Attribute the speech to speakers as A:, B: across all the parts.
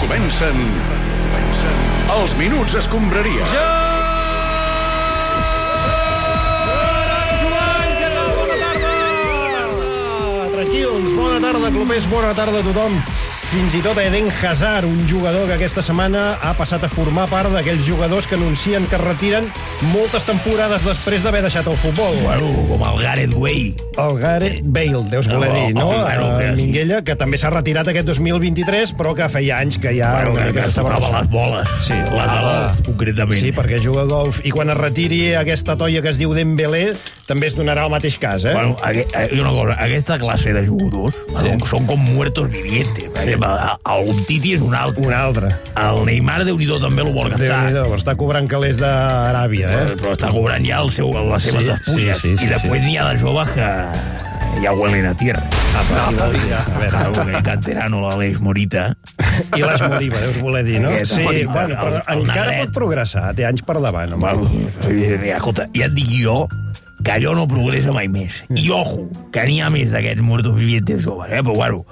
A: comencen... comencen... Els Minuts Escombraria. Ja!
B: Tranquils, doncs, bona tarda, clubers, bona tarda a tothom. Fins i tot a Eden Hazard, un jugador que aquesta setmana ha passat a formar part d'aquells jugadors que anuncien que es retiren moltes temporades després d'haver deixat el futbol.
C: Bueno, com el Gareth Way.
B: El Gareth Bale, deus voler
C: No,
B: dir, no?
C: home, bueno,
B: A
C: que-
B: Minguella, que també s'ha retirat aquest 2023, però que feia anys Ah, que ja...
C: Bueno,
B: una
C: que,
B: mica
C: que es
B: s'estava
C: tocava les
B: arrossegant.
C: boles.
B: Sí,
C: les de
B: tocava-
C: golf, concretament.
B: Sí, perquè juga a golf. I quan es retiri aquesta toia que es diu Dembélé, també es donarà el mateix cas, eh?
C: Bueno, ague- eh, una cosa, aquesta classe de jugadors sí. són com muertos vivientes. Per exemple, el Umtiti és un altre.
B: Un altre.
C: El Neymar, déu nhi també el vol gastar.
B: Déu-n'hi-do, però està cobrant calés d'Aràbia, eh?
C: Però està cobrant ja el seu, les seves
B: Sí,
C: despulles.
B: sí, sí, sí,
C: I després n'hi ha de joves que ja huelen a tierra. A partir
B: no,
C: del-
B: ja, a veure.
C: Claro, que Canterano, l'Aleix Morita...
B: I les Moriba, deus voler dir, no?
C: Aquesta
B: Sí,
C: Moriba,
B: bueno, però
C: el- el
B: encara
C: negret.
B: pot progressar, té anys per davant, home.
C: Bueno, mira, escolta, ja et dic jo que allò no progressa mai més. I
B: Mm.
C: ojo, que n'hi ha més d'aquests muertos vivientes joves, eh? Però bueno,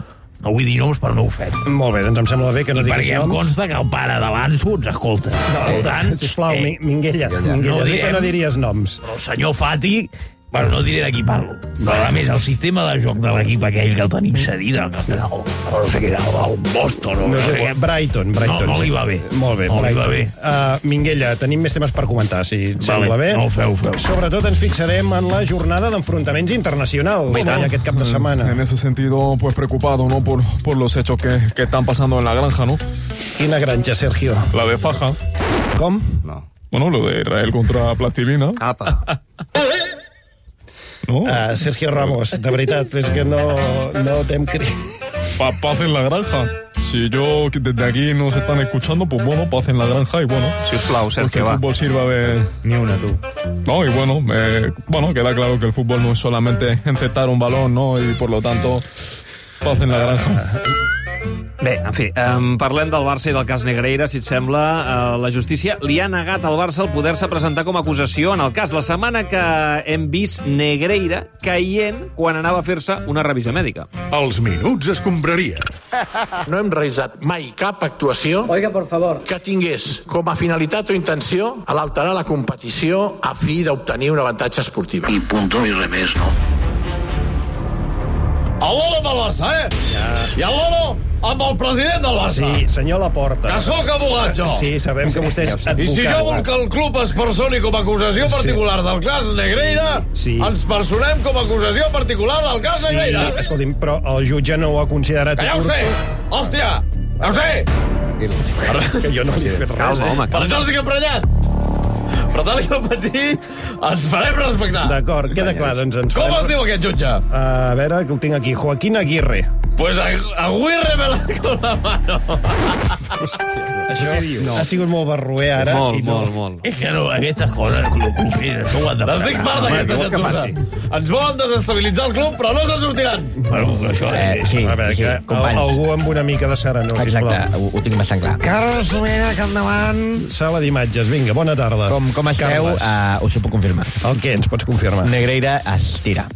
C: no vull dir noms, però no ho fem.
B: Molt bé, doncs em sembla bé que no diguis
C: Perquè em
B: noms.
C: consta que el pare de l'Anso ens escolta. No, per tant, Eh,
B: Sisplau, Mi- Minguella, Minguella,
C: No
B: no que
C: direm.
B: no diries noms.
C: el senyor Fati... Bueno, no diré de qui parlo. Però, a més, el sistema de joc de l'equip aquell que el tenim cedit, el que era, el, no sé què era, el Boston o
B: No sé,
C: què.
B: Brighton, Brighton.
C: No, no
B: sí.
C: li va bé.
B: Molt bé,
C: no li
B: Brighton.
C: va bé.
B: Uh, Minguella, tenim més temes per comentar, si et
C: Vale,
B: sembla bé.
C: no, feu, feu.
B: Sobretot ens fixarem en la jornada d'enfrontaments internacionals que hi ha aquest cap de
C: Mm.
B: setmana.
D: En ese sentido, pues preocupado, ¿no? Por, por los hechos que, que están pasando en la granja, ¿no?
B: Quina granja, Sergio.
D: La de Faja.
B: Com?
D: Bueno, lo de Israel contra Plastilina,
E: Apa.
D: ¿no?
B: Uh, Sergio Ramos, de veritat, és que no, no t'hem cridat.
D: Pa- paz en la granja. Si yo que desde aquí nos están escuchando, pues bueno, paz en la granja y bueno.
E: Sisplau,
D: pues que
E: Sergio,
D: el
E: va.
D: fútbol sirva de...
B: Ni una, tu.
D: No, y bueno, eh, bueno, queda claro que el fútbol no es solamente encestar un balón, ¿no? Y por lo tanto, paz en la granja.
E: Bé, en fi, um, parlem del Barça i del cas Negreira, si et sembla. Uh, la justícia li ha negat al Barça el poder-se presentar com a acusació en el cas. La setmana que hem vist Negreira caient quan anava a fer-se una revisió mèdica.
A: Els Minuts Escombraria.
F: No hem realitzat mai cap actuació
G: Oiga, por favor.
F: que tingués com a finalitat o intenció a l'alterar la competició a fi d'obtenir un avantatge esportiu.
H: y punto y remés, ¿no?
I: Alolo amb el Barça, eh? I alolo amb el president del Barça.
B: Sí, senyor Laporta.
I: Que sóc abogat, jo.
B: Sí, sabem que vostè és advocat.
I: I si jo vull que el club es personi com a acusació particular del cas Negreira,
B: Sí, sí.
I: ens personem com a acusació particular del cas
B: Sí,
I: Negreira.
B: escolti'm, però el jutge no ho ha considerat...
I: Que ja ho sé! Hòstia! Ja ho sé!
B: Que jo no li he fet res. eh?
E: Calma, home,
I: Per
E: calma.
I: això estic emprenyat! Però tal i com vaig dir, ens farem respectar.
B: D'acord, queda clar, doncs ens
I: Com
B: farem-
I: es diu aquest jutge?
B: A veure, que ho tinc aquí. Joaquín Aguirre.
I: Pues Agu- Agüirre me la con la mano.
B: Això no. ha sigut molt barruer ara.
E: Molt,
B: i no.
E: molt, molt.
C: És que no, aquestes coses, clu- cluberes, no ho han de
I: N'estic
C: fregar.
I: part d'aquesta
E: què vol que
I: gentussa. Ens volen desestabilitzar el club, però no se'n sortiran.
C: Bueno, això és...
J: Sí,
B: A veure,
J: sí,
B: que
J: companys.
B: al- algú amb una mica de serenor,
J: Exacte,
B: sisplau.
J: ho, ho tinc bastant clar.
B: Carles Domènech, endavant. Sala d'imatges, vinga, bona tarda.
J: Com, com esteu,
B: Carles,
C: Ah.
J: uh, us ho puc confirmar.
B: El què ens pots confirmar?
J: Negreira es tira.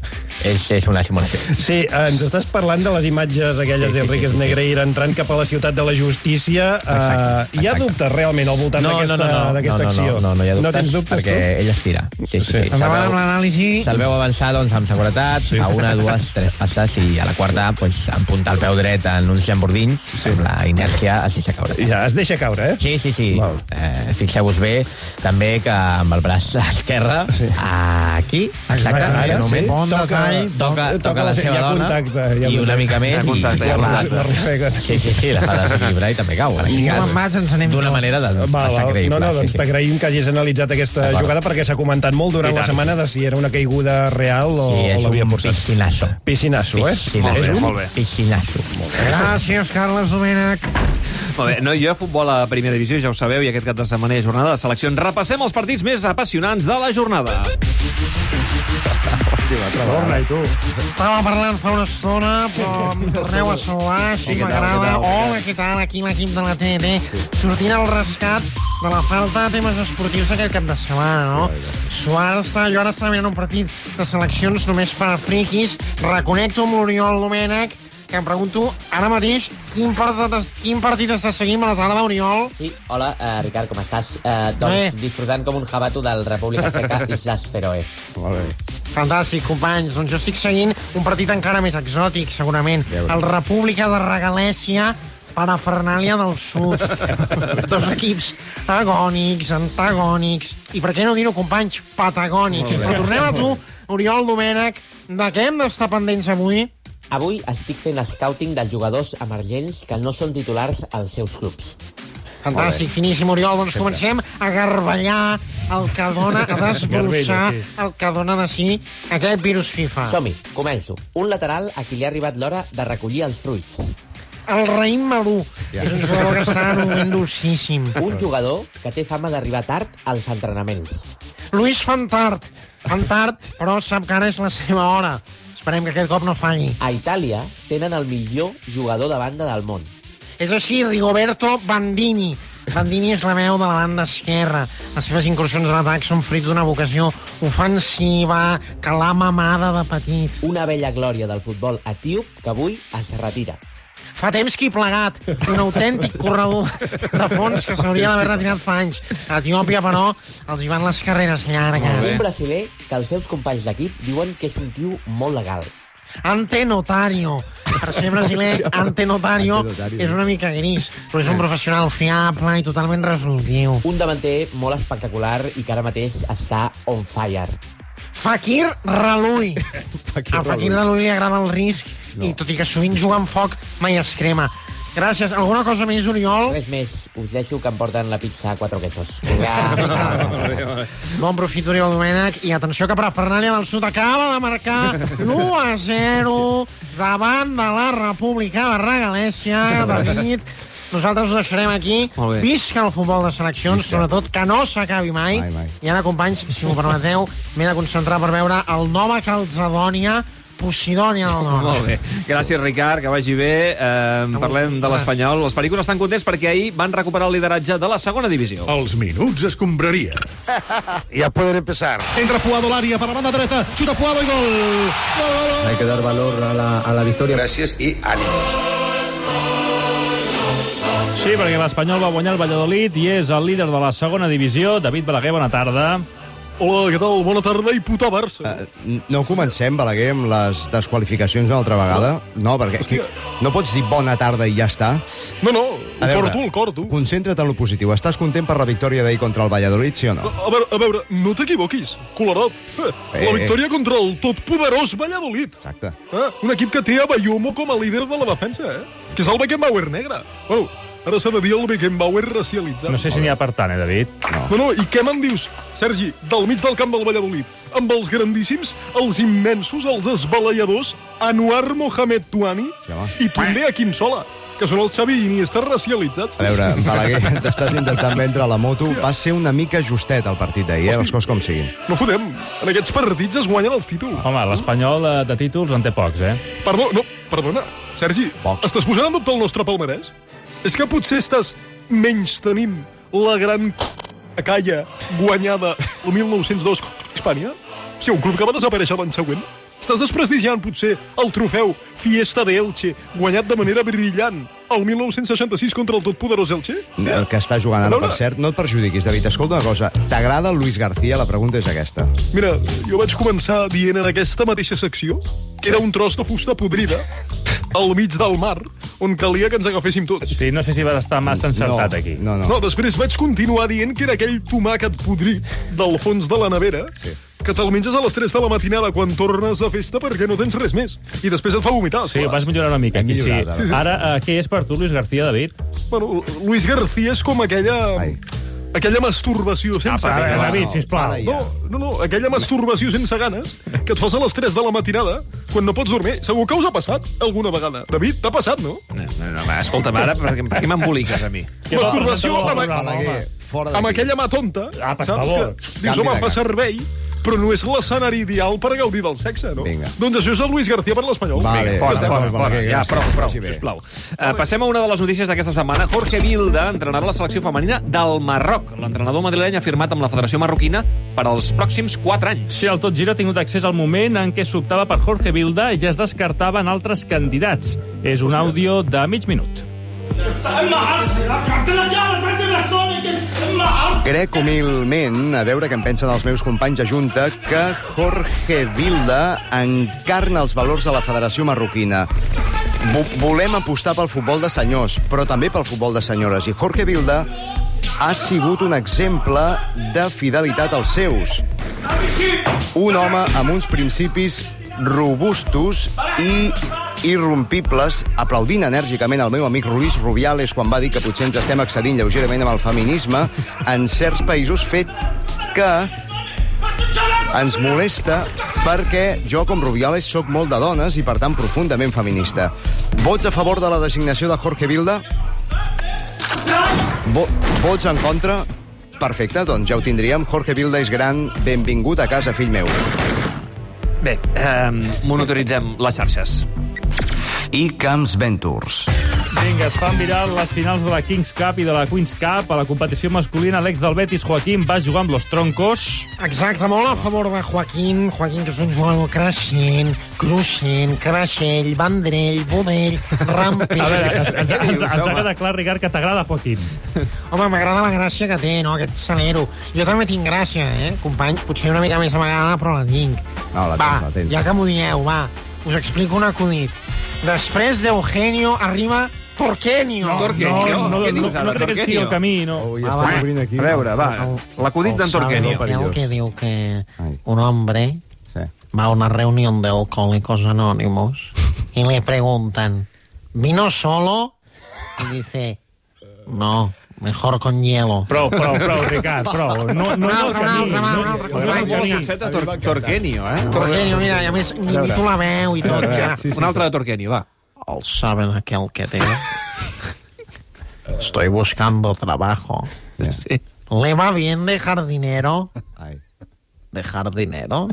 J: És, és una simulació.
B: Sí, eh, ens estàs parlant de les imatges aquelles
J: Sí, sí,
B: d'Enriquez
J: sí, sí, sí.
B: Negreira entrant cap a la ciutat de la justícia.
J: Exacte,
B: Eh, hi ha
J: exacte.
B: dubtes, realment, al voltant d'aquesta
J: no,
B: d'aquesta
J: no, no,
B: acció?
J: no, no hi ha dubtes,
B: No tens dubtes,
J: perquè
B: tu?
J: ell es tira. Sí, sí, sí.
B: Sí.
J: Se'l veu- Se'l veu avançar, doncs, amb seguretat,
B: Sí.
J: sí. a una, dues, tres passes, i a la quarta, doncs, apuntar el peu dret en uns llambordins, sí. amb la inèrcia es deixa caure.
B: Ja, es deixa caure, eh?
J: Sí, sí, sí.
B: Val.
J: Eh, Fixeu-vos bé també que amb el braç esquerre, sí. aquí, exacte, ara, només,
B: Bon detall.
J: toca, toca, toca la seva
B: hi ha
J: dona
B: contacte, hi ha
J: i una
B: contacte.
J: mica més
E: Hi ha contacte,
J: i,
E: hi ha contacte.
B: L'arrossega.
J: Sí, sí, sí, la fa desequilibrar i també cau. I com en mats ens anem D'una manera de,
B: Val,
J: massa
B: val.
J: creïble.
B: no, no, doncs
J: sí, sí.
B: t'agraïm que hagis analitzat aquesta
J: D'acord.
B: jugada perquè s'ha comentat molt durant
J: I
B: la
J: tant.
B: setmana de si era una caiguda real o,
J: Sí,
B: o
J: és
B: l'havia
J: un
B: forçat.
J: piscinasso.
B: Piscinasso, eh?
J: Piscinasso.
B: És un...
E: molt bé.
J: Piscinasso.
B: Gràcies, Carles Domènech.
E: Molt bé, no, jo a futbol a primera divisió, ja ho sabeu, i aquest cap de setmana hi ha jornada de seleccions. Repassem els partits més apassionants de la jornada.
G: Estava parlant fa una estona, però em torneu a saludar, així m'agrada. Hola, què tal? Aquí l'equip de la TNT. Sortint al rescat de la falta de temes esportius aquest cap de setmana, no? Suárez està, jo ara estava mirant un partit de seleccions només per a friquis. Reconnecto amb l'Oriol Domènech, que em pregunto ara mateix quin partit, quin partit estàs seguint a la tarda, Oriol?
H: Sí, hola, eh, Ricard, com estàs? Eh, doncs
G: Bé.
H: disfrutant com un jabato del República Txeca i Slas Feroe.
B: Molt bé.
G: Fantàstic, companys. Doncs jo estic seguint un partit encara més exòtic, segurament. El República de Regalèsia parafernàlia del sud. Dos equips agònics, antagònics, i per què no dir-ho, companys, patagònics. Però tornem a tu, Oriol Domènech, de què hem d'estar pendents avui?
H: Avui estic fent scouting dels jugadors emergents que no són titulars als seus clubs.
G: Fantàstic, finíssim, Oriol. Doncs comencem a garballar el que dona, a desbrossar
H: Garbella, sí.
G: el que dona de si aquest virus FIFA.
H: Som-hi, començo. Un lateral a qui li ha arribat l'hora de recollir els fruits.
G: El raïm madur. Ja. És un jugador que està en un moment dolcíssim.
H: Un jugador que té fama d'arribar tard als entrenaments.
G: Luis Fantart. Fantart, però sap que ara és la seva hora. Esperem que aquest cop no falli.
H: A Itàlia tenen el millor jugador de banda del món.
G: És així, Rigoberto Bandini. Bandini és la veu de la banda esquerra. Les seves incursions en atac són fruit d'una vocació ofensiva que l'ha mamada de petit.
H: Una vella glòria del futbol etíop que avui es retira.
G: Fa temps que hi plegat, un autèntic corredor de fons que s'hauria d'haver retirat fa anys. A Etiòpia, però, els hi van les carreres
H: Un
G: llargues.
H: brasiler que els seus companys d'equip diuen que és un tio molt legal.
G: Ante notario. Per ser brasiler, ante notario
H: Ante notario.
G: és una mica gris, però és un professional fiable i totalment resolutiu.
H: Un davanter molt espectacular i que ara mateix està on fire.
G: Fakir Ralui. A Fakir Ralui li agrada el risc i tot i que sovint juga amb foc, mai es crema. Gràcies. Alguna cosa més, Oriol?
H: Res més. Us deixo que em porten la pizza a quatre quesos.
G: Bon profit, Oriol Domènech. I atenció que Parafernàlia del Sud acaba de marcar l'1 a 0 davant de la República de Regalèsia, David. Nosaltres ho deixarem aquí.
K: Molt bé.
G: Visca el futbol de seleccions, sobretot que no s'acabi mai.
K: Mai, mai.
G: I ara, companys, si m'ho permeteu, m'he de concentrar per veure el Nova Calzadònia, Posidònia del Nord.
E: Molt bé. Gràcies, Ricard, que vagi bé. Eh, parlem de l'Espanyol. Els periculos estan contents perquè ahir van recuperar el lideratge de la segona divisió. Els minuts es compraria.
L: Ya pueden empezar.
B: Entra Puado al área para la banda derecha. Chuta Puado y gol.
M: Hay que dar valor a la, a la victoria. Gracias y ánimos.
N: Sí, perquè l'Espanyol va guanyar el Valladolid i és el líder de la segona divisió. David Balaguer, bona tarda. Hola, què tal? Bona tarda i puta Barça.
M: No comencem, Balaguer, amb les desqualificacions una altra vegada. No, perquè estic... no pots dir bona tarda i ja està.
O: No, no, ho porto, el corto.
M: Concentra't en lo positiu. Estàs content per la victòria d'ahir contra el Valladolid, sí o no?
O: A veure, a veure, no t'equivoquis, Colarot. Eh,
M: Eh,
O: la
M: eh.
O: victòria contra el totpoderós Valladolid.
M: Exacte.
O: Eh? Un equip que té a Bayomo com a líder de la defensa, eh? Que és el Beckenbauer negre. Bueno, ara s'ha de dir el Beckenbauer racialitzat.
N: No sé si n'hi ha per tant, eh, David?
O: No, no, i què me'n dius, Sergi, del mig del camp del Valladolid? Amb els grandíssims, els immensos, els esbaleiadors, Anuar Mohamed Tuani i també a Quim Sola, que són els Xavi Iniesta racialitzats.
M: A veure, Balaguer, ens estàs intentant vendre la moto. Va ser una mica justet el partit d'ahir, eh? les coses com siguin.
O: No fotem. En aquests partits es guanyen els títols.
N: Home, l'Espanyol eh, de títols en té pocs, eh?
O: Perdó, no, perdona, Sergi, Pocs. estàs posant en dubte el nostre palmarès? És que potser estàs menys tenint la gran calla guanyada el 1902 a Hispània? O sigui, un club que va desaparèixer l'any següent? Estàs desprestigiant, potser, el trofeu Fiesta de Elche, guanyat de manera brillant el 1966 contra el totpoderós Elche?
M: El que està jugant ara, per cert, no et perjudiquis, David. Escolta una cosa, t'agrada el Luis García? La pregunta és aquesta.
O: Mira, jo vaig començar dient en aquesta mateixa secció que era un tros de fusta podrida al mig del mar on calia que ens agaféssim tots.
N: Sí, no sé si vas estar massa encertat
O: no,
N: aquí.
O: No, després vaig continuar dient que era aquell tomàquet podrit del fons de la nevera sí. que te'l menges a les 3 de la matinada quan tornes de festa perquè no tens res més. I després et fa vomitar.
N: Sí, vas millorar una mica. Aquí, sí. Ara, eh, què és per tu, Luis García, David?
O: Bueno, Luis García és com aquella... Ai. Aquella
E: Ah,
O: masturbació
B: Ah,
O: sense
N: Apa,
O: ganes.
N: David, sisplau.
O: Para ja. No, no, no, aquella masturbació sense ganes que et fas a les 3 de la matinada quan no pots dormir. Segur que us ha passat alguna vegada. David, t'ha passat, no?
E: No, no, no, va, escolta'm, ara, per, per què m'emboliques a mi?
O: Masturbació
E: Presentador
O: amb,
E: del programa, home.
O: amb aquella mà tonta,
E: Ah, per
O: saps?
E: favor.
O: Que dius,
E: Canvi
O: home,
E: de
O: fa
E: cara.
O: servei
P: però no és l'escenari ideal per gaudir del sexe, no? Vinga. Doncs això és el Luis García per l'Espanyol.
O: Vinga, fora, fora, fora. Ja, prou, prou, sisplau. Eh, passem a una de les notícies d'aquesta setmana. Jorge Vilda entrenarà la selecció femenina del Marroc. L'entrenador madrileny ha firmat amb la Federació Marroquina per als pròxims 4 anys.
B: Sí, el Tot Giro ha tingut accés al moment en què s'optava per Jorge Vilda i ja es descartaven altres candidats. És un àudio de mig minut.
M: Crec humilment, a veure què en pensen els meus companys de Junta, que Jorge Vilda encarna els valors de la Federació Marroquina. Vo- volem apostar pel futbol de senyors, però també pel futbol de senyores. I Jorge Vilda ha sigut un exemple de fidelitat als seus. Un home amb uns principis robustos i irrompibles, aplaudint enèrgicament el meu amic Luis Rubiales quan va dir que potser ens estem excedint lleugerament amb el feminisme en certs països, fet que ens molesta perquè jo, com Rubiales, sóc molt de dones i, per tant, profundament feminista. Vots a favor de la designació de Jorge Vilda? Vo vots en contra? Perfecte, doncs ja ho tindríem. Jorge Vilda és gran. Benvingut a casa, fill meu.
O: Bé, eh, monitoritzem les xarxes.
M: I Camps Ventures.
B: Vinga, es fan viral les finals de la Kings Cup i de la Queens Cup. A la competició masculina, l'ex del Betis, Joaquim, va jugar amb los troncos.
G: Exacte, molt a favor de Joaquín. Joaquín, que és un jugador creixent, cruixent, creixell, vendrell, budell, rampell...
B: A veure, ens, ens, ens, ens ha quedat clar, Ricard, que t'agrada, Joaquín.
G: Home, m'agrada la gràcia que té, no?, aquest salero. Jo també tinc gràcia, eh, companys? Potser una mica més amagada, però la tinc.
M: No, Ah, la
G: va,
M: tens, la tens.
G: ja que m'ho dieu, va, us explico un acudit. Després d'Eugenio arriba Torquenio.
B: No, Torquenio. no, no, Què dius no, ara, no crec que Torquenio? sigui el camí, no. Ui, estem obrint aquí. A veure, va, l'acudit d'en Torquenio.
G: Sabeu que diu que un hombre va a una reunión de alcohólicos anónimos y le preguntan, ¿vino solo? Y dice, no, mejor con hielo.
B: Prou, prou, prou, Ricard, prou. No, no és el camí. No, no és el camí.
O: Tor Torquenio, eh?
G: Torquenio, mira, i a més, ni, ni tu la veu i
O: A
G: tot.
O: veure,
G: mira.
O: sí, sí, Un altre de Torquenio, va.
G: El saben aquel que té. Estoy buscando trabajo. ¿Le va bien dejar dinero? ¿Dejar dinero?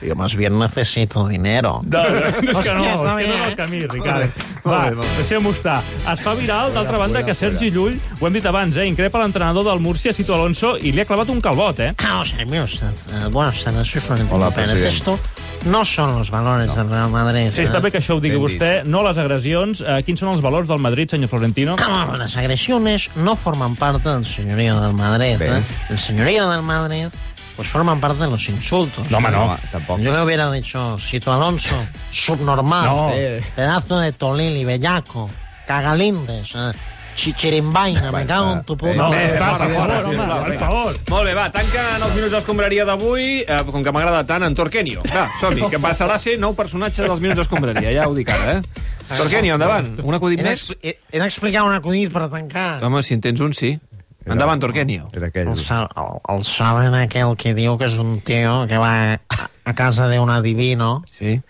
G: Yo más bien necesito dinero.
B: No, no, és que no, és que
G: Hòstia, està
B: no
G: bé,
B: és el
G: eh?
B: camí, Ricard. Va, deixem-ho estar. Es fa viral, d'altra banda, que Sergi Llull, ho hem dit abans, eh, increpa l'entrenador del Múrcia, Cito Alonso, i li ha clavat un calbot, eh?
G: Ah, o sea, mira usted, eh, buenas tardes, soy Florentino
B: Hola,
G: Pérez.
B: president.
G: Esto no son los valores del Real Madrid. ¿eh?
B: Sí, està bé que això ho digui vostè, no les agressions. Eh, quins són els valors del Madrid, senyor Florentino?
G: No, Ah, las agresiones no forman parte del señorío del Madrid.
B: Bé.
G: ¿eh? El señorío del Madrid pues forman parte de los insultos.
B: No, home, no. No,
G: tampoco. Yo le hubiera dicho, Sito Alonso, subnormal,
B: No.
G: eh, pedazo de Tolili, bellaco, cagalindes, eh, chichirimbaina, me cago en tu puta.
O: No,
G: madre.
O: eh, va, per favor, home, va, per favor. Molt bé, va, tanquen els minuts d'escombraria d'avui, eh, com que m'agrada tant, en Torquenio. Va, som-hi, que passarà a ser nou personatge dels minuts d'escombraria, ja ho dic ara, eh? Torquenio, endavant. Un acudit
G: He
O: més?
G: d'expli- He he d'explicar un acudit per tancar.
O: Home, si en tens un, sí. Endavant, Torquenio.
M: Era aquell.
G: El, sa- el, el saben aquel que diu que és un tio que va a, a casa d'un adivino,
O: sí.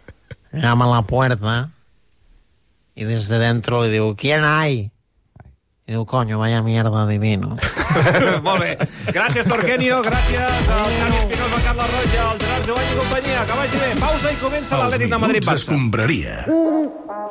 G: llama a la puerta i des de dentro li diu ¿Quién hay? I diu, coño, vaya mierda adivino.
O: Molt bé. Gràcies, Torquenio, gràcies al Xavi Espinosa, al Carles Roja, al Gerard Joan i companyia. Que vagi bé. Pausa i comença l'Atlètic de Madrid-Barça.
Q: Escombraria.